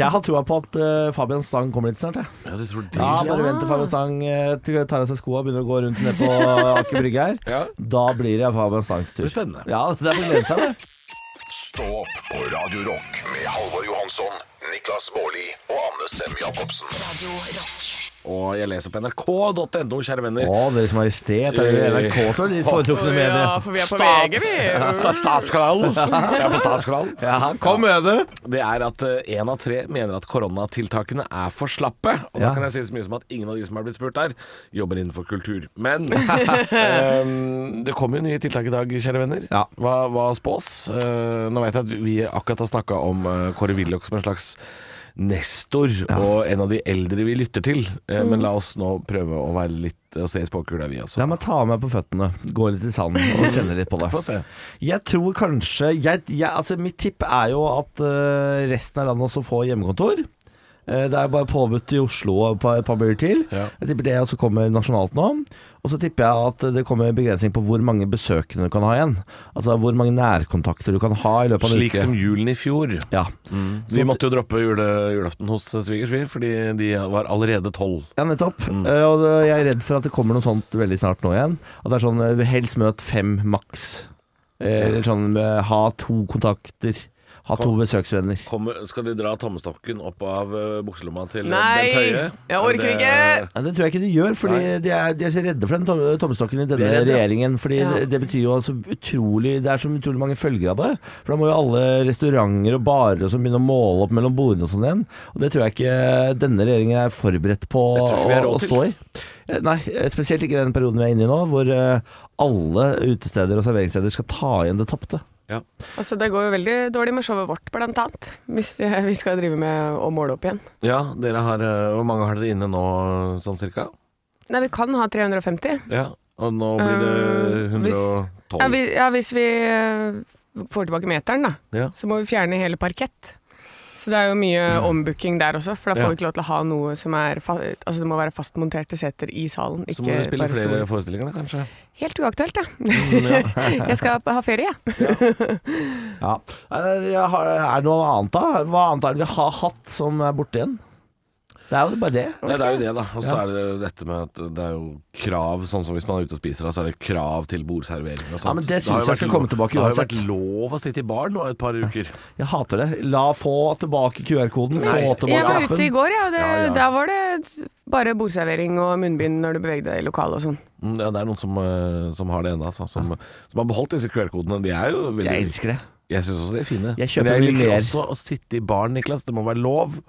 S5: jeg har trua på at eh, Fabian Stang kommer litt snart, jeg.
S4: Ja, du tror de,
S5: Ja,
S4: ja.
S5: bare vent til Fabian Stang eh, til- tar av seg skoa og begynner å gå rundt ned på Aker Brygge her.
S4: Ja.
S5: Da blir det Fabian Stangs tur.
S4: Det blir spennende.
S5: Ja, det er på glede seg, det.
S2: Stå opp på Radio Rock med Halvor Johansson, Niklas Baarli og Anne Sem Jacobsen.
S1: Radio Rock.
S4: Og jeg leser på nrk.no, kjære venner.
S5: Å, Deres Majestet, er det NRK
S4: Eh,
S5: som er de foretrukne medier?
S3: for vi er på VG,
S4: Stats-
S3: vi.
S4: Statskanalen! Jeg er på Statskanalen.
S5: Ja, kom med det!
S4: Det er at én av tre mener at koronatiltakene er for slappe. Og da
S5: Ja.
S4: kan jeg si så mye som at ingen av de som er blitt spurt der, jobber innenfor kultur. Men ehm, det kommer jo nye tiltak i dag, kjære venner.
S5: Ja.
S4: Hva, hva spås? Eh, nå vet jeg at vi akkurat har snakka om eh, Kåre Willoch som en slags nestor og en av de eldre vi lytter til. Eh, Men la oss nå prøve å være litt Å se i spåkula, vi også.
S5: La meg ta meg på føttene, gå litt i sanden og kjenne litt på det.
S4: Få se.
S5: Jeg tror kanskje jeg, jeg, altså Mitt tipp er jo at eh, resten av landet også får hjemmekontor. Eh, det er bare påbudt i Oslo et par, et par byer til.
S4: Ja.
S5: Jeg tipper det også kommer nasjonalt nå. Og så tipper jeg at det kommer begrensning på hvor mange besøkende du kan ha igjen. Altså hvor mange nærkontakter du kan ha i løpet av en
S4: Slik
S5: uke.
S4: som julen i fjor.
S5: ja.
S4: Vi måtte jo droppe jule, julaften hos svigers, vi, fordi de var allerede tolv.
S5: Ja, nettopp. Eh, og det- jeg er redd for at det kommer noe sånt veldig snart nå igjen. At det er sånn eh, helst møt fem maks. Eh, Eller sånn eh, ha to kontakter. Ha to besøksvenner.
S4: Kommer, skal de dra tommestokken opp av eh, bukselomma til eh,
S3: Nei,
S4: Bent Høie?
S3: jeg orker
S4: Det-
S3: ikke.
S5: Nei, det tror jeg ikke de gjør, fordi de er, de er så redde for den tom- tommestokken i denne
S4: er redde, ja.
S5: regjeringen. Fordi
S3: Ja.
S5: det, det betyr jo altså utrolig Det er så utrolig mange følger av det. For da må jo alle restauranter og barer og sånn begynne å måle opp mellom bordene og sånn igjen. Og det tror jeg ikke denne regjeringen er forberedt på å,
S4: tror ikke vi har råd
S5: å stå i. Eh, Nei, eh, spesielt ikke den perioden vi er inne i nå, hvor eh, alle utesteder og serveringssteder skal ta igjen det tapte.
S4: Ja.
S3: Altså, det går jo veldig dårlig med showet vårt, blant annet. Hvis eh, vi skal drive med å måle opp igjen.
S4: ja, dere har eh, Hvor mange har dere inne nå, sånn cirka?
S3: Nei, vi kan ha 350.
S4: Ja, Og nå blir det
S3: Eh,
S4: 112.
S3: hvis- Ja, vi, ja, hvis vi eh, får tilbake meteren, da,
S4: Ja.
S3: så må vi fjerne hele parkett. Så det er jo mye ombooking der også, for da får
S4: Ja.
S3: vi ikke lov til å ha noe som er fa Altså det må være fastmonterte seter i salen,
S4: Så
S3: ikke
S4: må dere spille
S3: bare
S4: flere Mm,
S3: store.
S4: forestillinger, da, kanskje?
S3: Helt uaktuelt, da. jeg skal ha ferie, jeg.
S5: Ja. Eh, jeg har- Er det noe annet, da? Hva annet er det vi har hatt som er borte igjen? Det er jo bare det.
S4: Nei, det er jo det, da. Og så er det dette med at det er jo krav, sånn som hvis man er ute og spiser, da, så er det krav til bordservering og sånt.
S5: Ja, men det
S4: har jo
S5: synes jeg skal
S4: vært
S5: komme
S4: lov-
S5: tilbake
S4: Det har jo
S5: uansett.
S4: vært lov å sitte i bar nå et par uker.
S5: Jeg hater det. La få tilbake QR-koden. Få
S4: Nei.
S5: tilbake
S3: Jeg var ute i
S5: appen.
S3: går, ja, og det,
S4: Ja, ja.
S3: da var det bare bordservering og munnbind når du bevegde deg i lokalet og sånn.
S4: Mm, Ja, det er noen som, eh, som har det ennå, altså. Som, som har beholdt disse QR-kodene. De er jo veldig
S5: Jeg elsker det.
S4: Jeg syns også de er fine.
S5: Jeg kjøper
S4: Men jeg
S5: mye
S4: liker
S5: mer.
S4: også å sitte i baren, Niklas. Det må være lov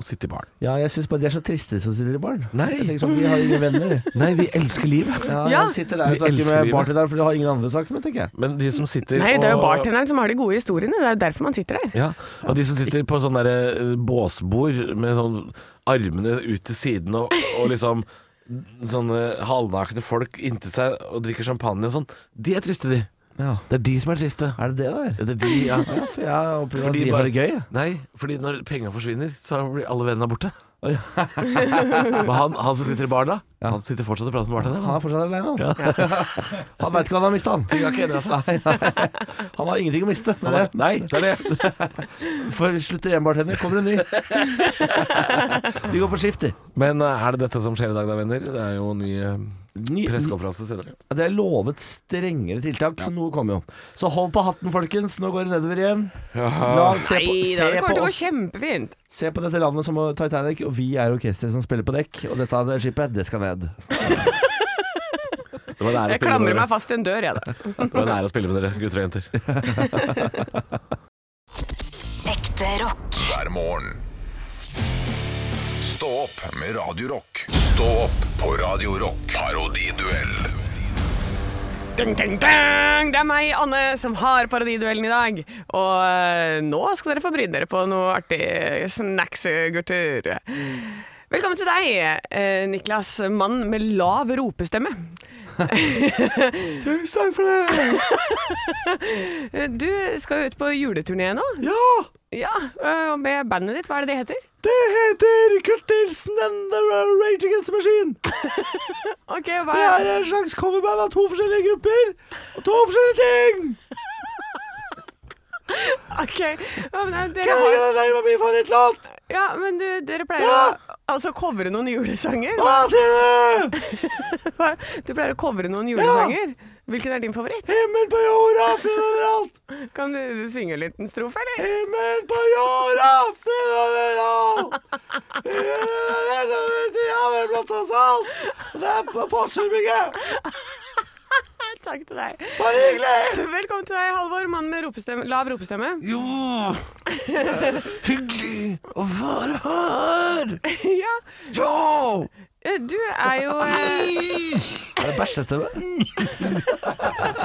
S4: å sitte i baren.
S5: Ja, jeg syns bare de er så triste som sitter i baren.
S4: Nei.
S5: Jeg tenker sånn, De har ingen venner.
S4: Nei, vi elsker livet.
S5: Ja,
S3: Ja.
S5: Jeg sitter der og
S4: Vi
S5: snakker
S4: elsker
S5: med
S4: livet.
S5: bartenderen, for de har ingen andre å snakke med, tenker jeg.
S4: Men de som sitter
S3: Nei, det er jo
S4: og-
S3: bartenderen som har de gode historiene, det er jo derfor man sitter der.
S4: Ja, og de som sitter på sånn derre eh, båsbord med sånn armene ut til siden og, og liksom sånne halvnakne folk inntil seg og drikker champagne og sånn. De er triste, de.
S5: Ja.
S4: Det er de som er triste.
S5: Er det det der?
S4: Det er de, ja.
S5: Ja, for jeg opplever
S4: Fordi
S5: at de
S4: bare-
S5: har det gøy. jeg.
S4: Nei, fordi når penga forsvinner, så blir alle vennene borte. Men han, han som sitter i baren, da? Han sitter fortsatt og prater med bartenderen.
S5: Han er fortsatt alene, han. Han veit ikke hva han har mista, han.
S4: har ikke endret seg.
S5: Nei, nei. Han har ingenting å miste. Det er det.
S4: Nei, det er det.
S5: For slutter én bartender, kommer en ny. De går på skift, de.
S4: Men eh, er det dette som skjer i dag, da, venner? Det er jo en ny eh,
S5: Ny-
S4: pressekonferanse senere.
S5: Ja, Det er lovet strengere tiltak, så noe kommer jo. Så hold på hatten, folkens. Nå går det nedover igjen. La oss se på,
S3: Nei, da,
S5: se
S3: det
S5: på
S3: kommer til å gå
S5: oss.
S3: kjempefint.
S5: Se på dette landet som Titanic, og vi er orkesteret som spiller på dekk. Og dette det skipet, det skal ned.
S4: Det var nære å
S3: Jeg
S4: spille med
S3: klamrer meg
S4: dere,
S3: fast til en dør, jeg, da.
S4: det var nære å spille med dere gutter og jenter.
S1: Ekte rock.
S2: Hver morgen. Stå opp med Radio Rock. Stå opp på Radio Rock. Parodiduell
S3: Dun, dun, dun! Det er meg, Anne, som har parodiduellen i dag. Og eh, nå skal dere få bryne dere på noe artig snacks, gutter. Velkommen til deg, eh, Niklas, mann med lav ropestemme.
S5: Tusen takk for det!
S3: Eh, Du skal jo ut på juleturné nå.
S5: Ja!
S3: Ja, eh, og med bandet ditt. Hva er det det heter?
S5: Det heter Kurt Nilsen and the Rage Against the Machine.
S3: Ok, hva
S5: Det
S3: er
S5: er en slags coverband av to forskjellige grupper og to forskjellige ting.
S3: Ok, ja, men dere
S5: Kan
S3: har...
S5: jeg gi deg deg med min favorittlåt?
S3: Ja, men du, dere pleier
S5: Ja!
S3: å altså, covre noen julesanger.
S5: Hva sier du?
S3: Hva- Du pleier å covre noen julesanger. Hvilken er din favoritt?
S5: Himmel på jorda, fred overalt.
S3: Kan du synge en liten strofe, eller?
S5: Himmel på jorda, fred overalt. Himmel over til havet, blått og salt. Det er på Porsgrunn-bygget.
S3: Takk til deg.
S5: Bare hyggelig.
S3: Velkommen til deg, Halvor, mann med ropestemme, lav ropestemme.
S4: Jo, hyggelig å være her.
S3: ja,
S4: Ja!
S3: eh, du er jo eh,
S5: Er det bæsjestemme?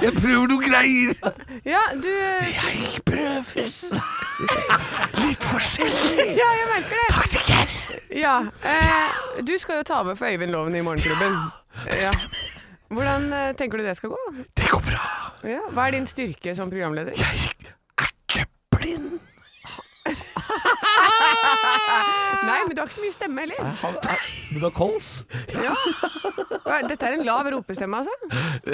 S4: Jeg prøver noen greier.
S3: Ja, du eh,
S4: Jeg prøver. Litt forskjellig.
S3: Ja, jeg merker det.
S4: Taktikker.
S3: Ja, eh, du skal jo ta over for Øyvind Loven i Morgenklubben. Ja. Hvordan eh, tenker du det skal gå?
S4: Det går bra.
S3: Ja. Hva er din styrke som programleder?
S4: Jeg er ikke blind.
S3: Nei, men du har ikke så mye stemme heller.
S5: Du har kols?
S3: Hva- Dette er en lav ropestemme, altså.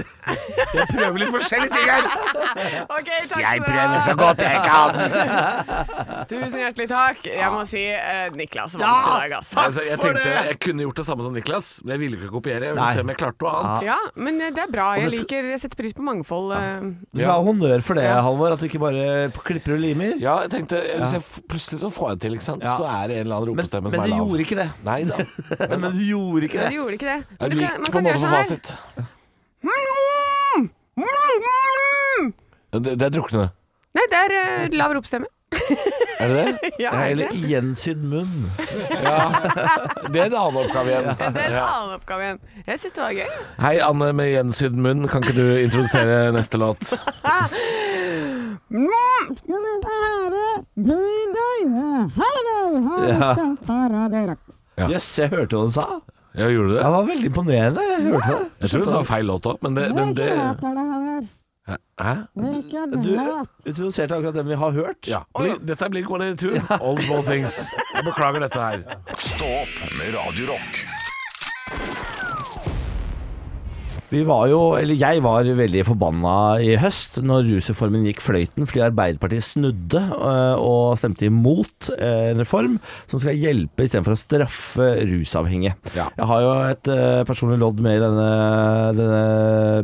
S4: Prøver litt forskjellige ting her.
S3: Ok, takk skal du ha.
S4: godt jeg kan.
S3: Tusen hjertelig takk. Jeg må si eh, Niklas vant i dag, altså.
S4: Altså, jeg tenkte jeg kunne gjort det samme som Niklas, men jeg ville ikke kopiere. Jeg ville
S5: Nei.
S4: se om jeg klarte noe annet.
S3: Ja, men eh, det er bra. Jeg
S5: det skal-
S3: liker, jeg setter pris på mangfold. eh.
S5: Du skal ha honnør for det,
S3: Ja.
S5: Halvor, at du ikke bare klipper og limer.
S4: Ja, jeg tenkte Hvis jeg f- plutselig så får jeg det til, ikke sant?
S5: Ja.
S4: så er det en eller annen
S5: Men,
S4: ropestemme
S5: men
S4: som er
S5: du
S4: lav.
S5: gjorde ikke det.
S4: Nei da.
S5: Men, men du gjorde ikke
S3: Men
S5: det.
S3: du gjorde ikke det. Men
S4: Jeg
S3: du
S4: liker
S3: kan, man
S4: på en
S3: kan
S4: måte
S3: gjøre
S4: for
S3: sånn her. Mmm!
S4: fasit. Det, det er druknende.
S3: Nei, det er eh, lav ropestemme.
S4: Er det det?
S3: Ja,
S5: Ja,
S3: er det
S5: Eller
S3: ikke?
S5: gjensydd munn.
S4: Det er en annen oppgave igjen.
S3: det er en annen oppgave igjen. Jeg syns det var gøy.
S4: Hei, Anne med gjensydd munn. Kan ikke du introdusere neste låt? Ja.
S5: Jøss, jeg hørte hva du sa.
S4: Ja, gjorde du
S5: Det
S4: det?
S5: var veldig imponerende. Jeg hørte det.
S4: Jeg tror du sa feil låt òg, men det, men det Hæ?
S5: Du introduserte akkurat den vi har hørt.
S4: Ja. Bli- Dette blir One-Two. All small things. Jeg beklager dette her.
S2: Stå opp med Radio Rock.
S5: Vi var jo, eller jeg var veldig forbanna i høst når rusreformen gikk fløyten fordi Arbeiderpartiet snudde øh, og stemte imot øh, en reform som skal hjelpe istedenfor å straffe rusavhengige.
S4: Ja.
S5: Jeg har jo et øh, personlig lodd med i denne, denne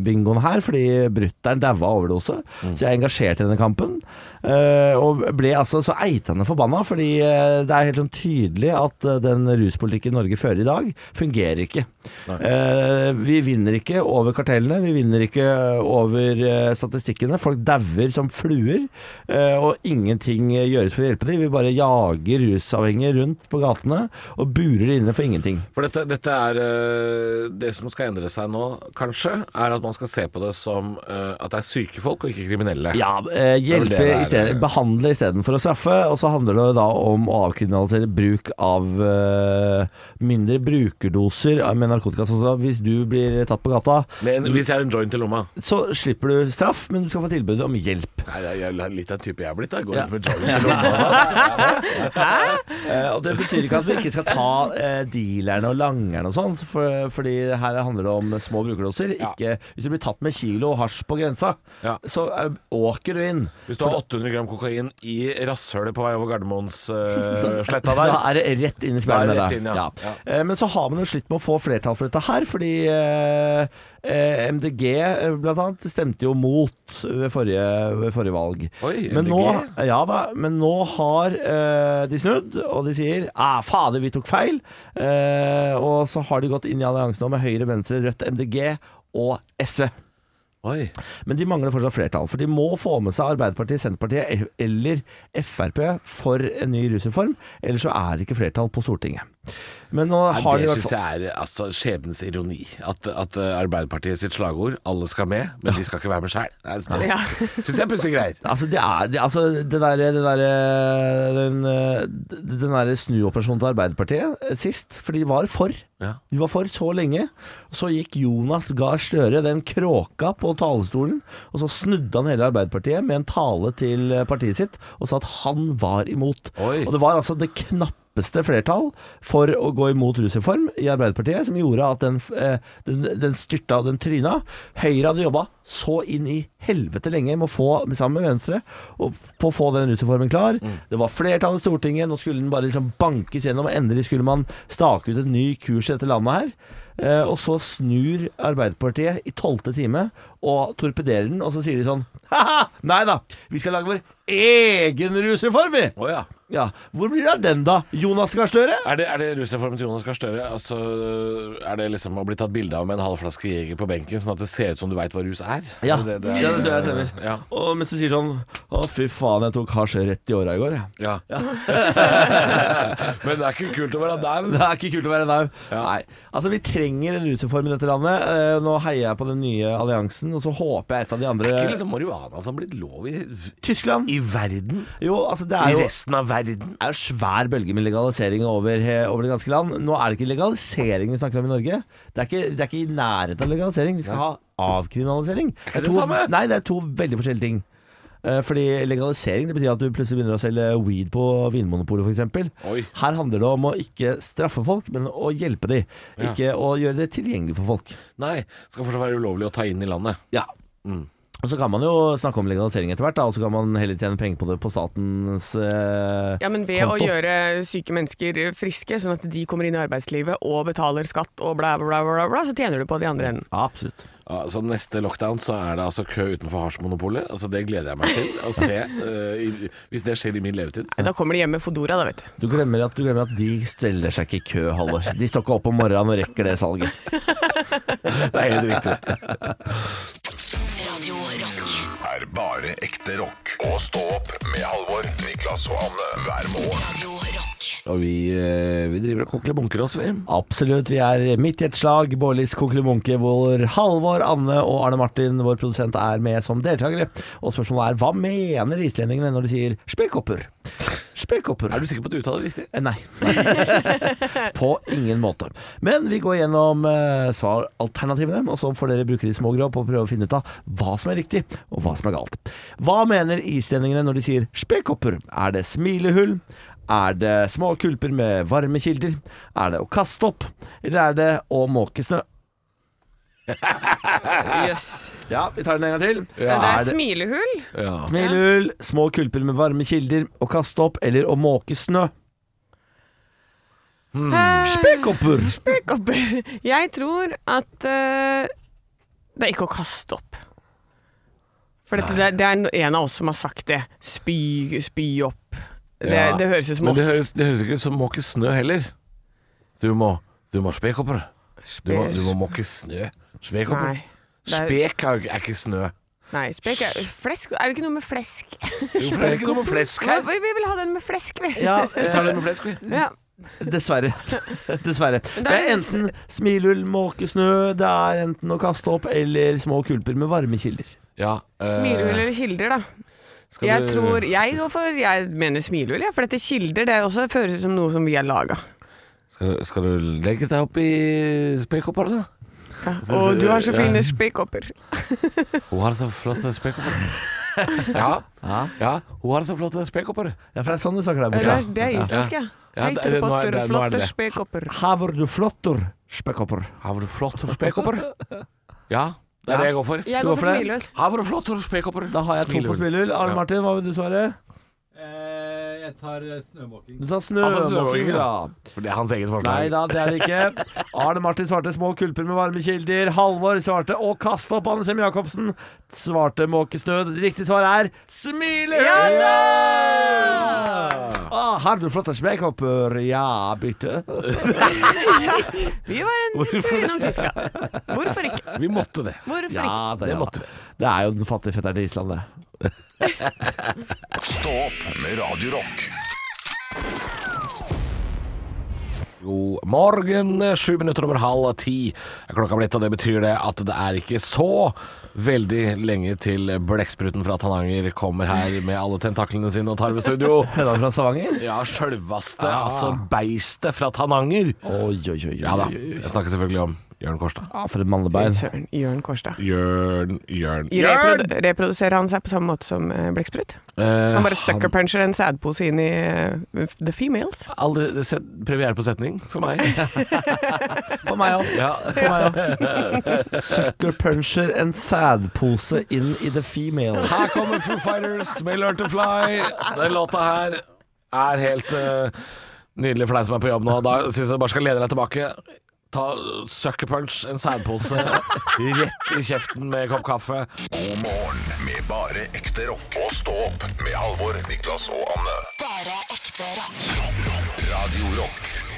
S5: bingoen her, fordi brutter'n daua av overdose. Så jeg er engasjert i denne kampen. øh, og ble altså så eitende forbanna, fordi øh, det er helt sånn tydelig at øh, den ruspolitikken Norge fører i dag, fungerer ikke. Eh, vi vinner ikke over kartellene, vi vinner ikke over eh, statistikkene. Folk dauer som fluer, eh, og ingenting eh, gjøres for å hjelpe dem. Vi bare jager rusavhengige rundt på gatene og burer de inne for ingenting.
S4: For dette, dette er øh, Det som skal endre seg nå, kanskje, er at man skal se på det som øh, at det er syke folk og ikke kriminelle.
S5: Ja, eh,
S4: Det er vel det
S5: hjelpe
S4: det
S5: i
S4: er,
S5: stedet,
S4: det.
S5: behandle istedenfor å straffe. Og så handler det da om å avkriminalisere bruk av eh, mindre brukerdoser med narkotika. Sånn som hvis du blir tatt på gata,
S4: Men hvis jeg har en joint i lomma
S5: så slipper du straff, men du skal få tilbud om hjelp.
S4: Nei, jeg jeg er litt av en type jeg er blitt. Jeg går
S5: Ja.
S4: rundt med joint i lomma.
S5: Eh, og Det betyr ikke at vi ikke skal ta eh, dealerne og langerne og sånn, for, fordi her handler det om små brukerdoser.
S4: Ja.
S5: Ikke, hvis du blir tatt med kilo hasj på grensa,
S4: Ja.
S5: så eh, åker du inn.
S4: Hvis du har 800 gram kokain i rasshølet på vei over Gardermoensletta
S5: Da
S4: der
S5: er det rett inn i
S4: Da er det
S5: speilet med
S4: rett
S5: deg.
S4: inn, ja. Ja.
S5: Eh, Men så har man jo slitt med å få flertall for dette her, fordi eh, eh, MDG eh, blant annet stemte jo mot ved forrige, ved forrige valg.
S4: Oi,
S5: men, nå,
S4: MDG?
S5: ja, da, men nå har eh, de snudd, og de sier ah, fader, vi tok feil. Eh, og så har de gått inn i alliansen nå med Høyre, Venstre, Rødt, MDG og SV.
S4: Oi.
S5: Men de mangler fortsatt flertall, for de må få med seg Arbeiderpartiet, Senterpartiet eller Frp for en ny rusreform, ellers så er det ikke flertall på Stortinget. Men nå
S4: Nei,
S5: har de
S4: det
S5: i hvert
S4: syns
S5: fall
S4: jeg er altså, skjebnens ironi. At, at eh, Arbeiderpartiet sitt slagord 'alle skal med', men de skal ikke være med sjæl.
S3: Ja.
S4: Det syns jeg er pussige greier.
S5: Altså, det er det, altså, det derre det der, Den, eh, den derre snuoperasjonen til Arbeiderpartiet eh, sist, for de var for.
S4: Ja.
S5: De var for så lenge. Så gikk Jonas Gahr Støre den kråka på talerstolen, og så snudde han hele Arbeiderpartiet med en tale til eh, partiet sitt og sa at han var imot.
S4: Oi.
S5: Og det var altså det knappeste flertall for å gå imot rusreform i Arbeiderpartiet, som gjorde at den, eh, den, den styrta og den tryna. Høyre hadde jobba så inn i helvete lenge med å få, sammen med Venstre, og på å få den rusreformen klar. Det var flertall i Stortinget, nå skulle den bare liksom bankes gjennom, og endelig skulle man stake ut en ny kurs i dette landet her. Eh, og så snur Arbeiderpartiet i tolvte time og torpederer den, og så sier de sånn Haha, nei da, vi skal lage vår egen rusreform, vi!
S4: Å ja.
S5: Ja, Hvor blir det av den, da? Jonas Gahr Støre?
S4: Er det, er det rusreformen til Jonas Gahr Støre? Altså, er det liksom å bli tatt bilde av med en halv flaske Jeger på benken, sånn at det ser ut som du veit hva rus er?
S5: Ja,
S4: Er
S5: det,
S4: det- det er-
S5: tror jeg stemmer.
S4: Ja.
S5: Og mens du sier sånn Å, fy faen, jeg tok hasj rett i åra i går, jeg.
S4: Ja. Men det er ikke kult å være der.
S5: Det er ikke kult å være nau. Nei. Altså, vi trenger en rusreform i dette landet. Eh, Nå heier jeg på den nye alliansen, og så håper jeg et av de
S4: Det
S5: andre
S4: er ikke liksom marihuana som har blitt lov i,
S5: Tyskland.
S4: i verden?
S5: Jo, altså, det
S4: I
S5: er jo
S4: resten av verden?
S5: det er jo svær bølge med legalisering over, he- over det ganske land. Nå er det ikke legalisering vi snakker om i Norge. Det er ikke, det er ikke i nærheten av legalisering. Vi skal ha avkriminalisering.
S4: ikke det
S5: to,
S4: samme?
S5: Nei, det er to veldig forskjellige ting. Eh, Fordi legalisering det betyr at du plutselig begynner å selge weed på Vinmonopolet f.eks.
S4: Oi.
S5: Her handler det om å ikke straffe folk, men å hjelpe dem.
S4: Ja.
S5: Ikke å gjøre det tilgjengelig for folk.
S4: Nei, skal fortsatt være ulovlig å ta inn i landet.
S5: Ja.
S4: Mm.
S5: Og så kan man jo snakke om legalisering etter hvert, da, og så kan man heller tjene penger på det på statens eh,
S3: Ja, men ved å
S5: Konto.
S3: gjøre syke mennesker friske, sånn at de kommer inn i arbeidslivet og betaler skatt og bla, bla, bla, bla så tjener du på de andre enden.
S5: Absolutt.
S4: Ja, Så Altså, neste lockdown så er det altså kø utenfor hasjmonopolet. Altså det gleder jeg meg til å se, eh, i, hvis det skjer i min levetid.
S3: Nei, Da kommer de hjem med Fodora, da, vet du.
S5: Du glemmer, at, du glemmer at de steller seg ikke i kø, Halvor. De står ikke opp om morgenen og rekker det salget.
S4: Det er helt riktig.
S1: Radio Rock.
S2: er bare ekte rock. Og stå opp med Halvor, Niklas og Anne hver morgen.
S1: Radio Rock.
S4: Og vi, eh, vi driver og koklebunker oss, vi.
S5: Absolutt, vi er midt i et slag. Bårlis kokkelimunke, hvor Halvor, Anne og Arne Martin, vår produsent, er med som deltakere. Og spørsmålet er hva mener islendingene når de sier spekkhopper? Spekkhopper.
S4: Er du sikker på at du uttaler det riktig?
S5: Eh, Nei. på ingen måte. Men vi går gjennom eh, svaralternativene, og så får dere bruke de små grå på å prøve å finne ut av hva som er riktig, og hva som er galt. Hva mener islendingene når de sier spekkhopper? Er det smilehull? Er det små kulper med varmekilder? Er det å kaste opp? Eller er det å måke snø?
S3: Jøss.
S5: Ja, vi tar den en gang til.
S3: Det
S5: Er
S3: er
S5: det
S3: smilehull.
S4: Ja.
S5: smilehull, små kulper med varmekilder, å kaste opp eller å måke snø?
S4: Hmm.
S5: Spekkhopper!
S3: Spekkhopper. Jeg tror at eh, det er ikke å kaste opp. For dette, det, det er no- en av oss som har sagt det. Spy, spy opp. Det,
S4: Ja.
S3: det høres ut som
S4: Men
S3: oss.
S4: det høres, det høres ikke ut som måke snø heller. Du må, du må spekopper. Du må, du må måke snø. Spekopper.
S3: Nei. Det er-
S4: Spek er, jo ikke- er ikke snø.
S3: Nei, spek er flesk. Er det ikke noe med flesk?
S4: Hvorfor er det ikke noe med flesk
S3: Vi,
S4: her?
S3: vi vil ha den med flesk, vi.
S5: Ja,
S4: Vi tar det med flesk, vi.
S3: Ja.
S5: Dessverre. Dessverre.
S3: Men
S5: Det
S3: det er
S5: er
S3: liksom-
S5: enten smilull, måkesnø, det er enten å kaste opp eller små kulper med varmekilder.
S4: Ja, eh,
S3: Smilehull eller kilder, da.
S4: skal
S3: Jeg
S4: du-
S3: tror Jeg går for Jeg mener smilehull, jeg. For dette kilder, det også føles som noe som vi har laga.
S4: Skal, du- skal du legge deg opp i spekopper, da?
S3: Og du har så
S4: Ja.
S3: fine spekhopper.
S4: Hun har så flotte spekkhopper. ja. ja, hun har så flotte spekkhopper.
S5: Ja, for det er sånn de snakker der
S3: Eller,
S5: borte.
S3: det er islandsk, ja.
S4: Ja,
S3: Hei,
S4: det-
S3: til
S4: det- nå er-
S3: potter,
S4: det- nå er
S3: flotter
S4: det.
S3: spekkhopper.
S5: Her var du flottor, spekkhopper.
S4: Har du flotte spekkhopper? Ja, det er det jeg går for.
S3: Jeg
S5: Du går
S3: går
S5: for
S3: for
S5: det?
S3: smilehull.
S4: Har du flotte spekkhopper?
S5: Da har jeg to på
S4: Smilehull.
S5: smilull. Arne
S4: Ja.
S5: Martin, hva vil du svare?
S8: Eh, Jeg Jeg tar eh, snømåking.
S5: Du tar snømåking, da.
S4: For det er hans eget forslag.
S5: Nei da, det er det ikke. Arne Martin svarte små kulper med varme kilder. Halvor svarte å kaste opp Anne Sem Jacobsen. Svarte måkesnø. Riktig svar er smilehull! Ah, har du flotte smekopper? Ja, bytte.
S3: Vi var en tur innom Tyskland. Hvorfor ikke?
S4: Vi måtte det.
S3: Hvorfor ikke?
S5: Ja, det,
S4: Det
S5: ja.
S4: måtte vi.
S5: det er jo den fattige fetteren til Island, det.
S2: Stå opp med Radio Rock.
S4: God morgen, sju minutter over halv ti er klokka blitt, og det betyr det at det er ikke så veldig lenge til blekkspruten fra Tananger kommer her med alle tentaklene sine og tar ved studio.
S5: Høna fra Stavanger?
S4: Ja, sjølvaste, altså beistet fra Tananger.
S5: Oi, oi, oi.
S4: Ja da, jeg snakker selvfølgelig om Jørn Kårstad.
S5: Ah, for et mannebein.
S3: Søren, Jørn Kårstad.
S4: Jørn, Jørn,
S3: Reprodu reproduserer han seg på samme måte som eh, blekksprut?
S4: Eh,
S3: Han bare sucker puncher en sædpose inn i eh, the females.
S4: Aldri sett premiere på setning for meg.
S5: For meg òg.
S4: Ja.
S5: For meg også. Sucker puncher en sædpose inn i the female.
S4: Her kommer Foo Fighters med Learn to Fly. Den låta her er helt eh, nydelig for deg som er på jobb nå. Da syns jeg du bare skal lene deg tilbake. Ta sucker punch, en sædpose, rett i kjeften med en kopp kaffe.
S2: God morgen med bare ekte rock. Og stå opp med Halvor, Niklas og Anne.
S1: Bare ekte rock.
S2: Radio Rock.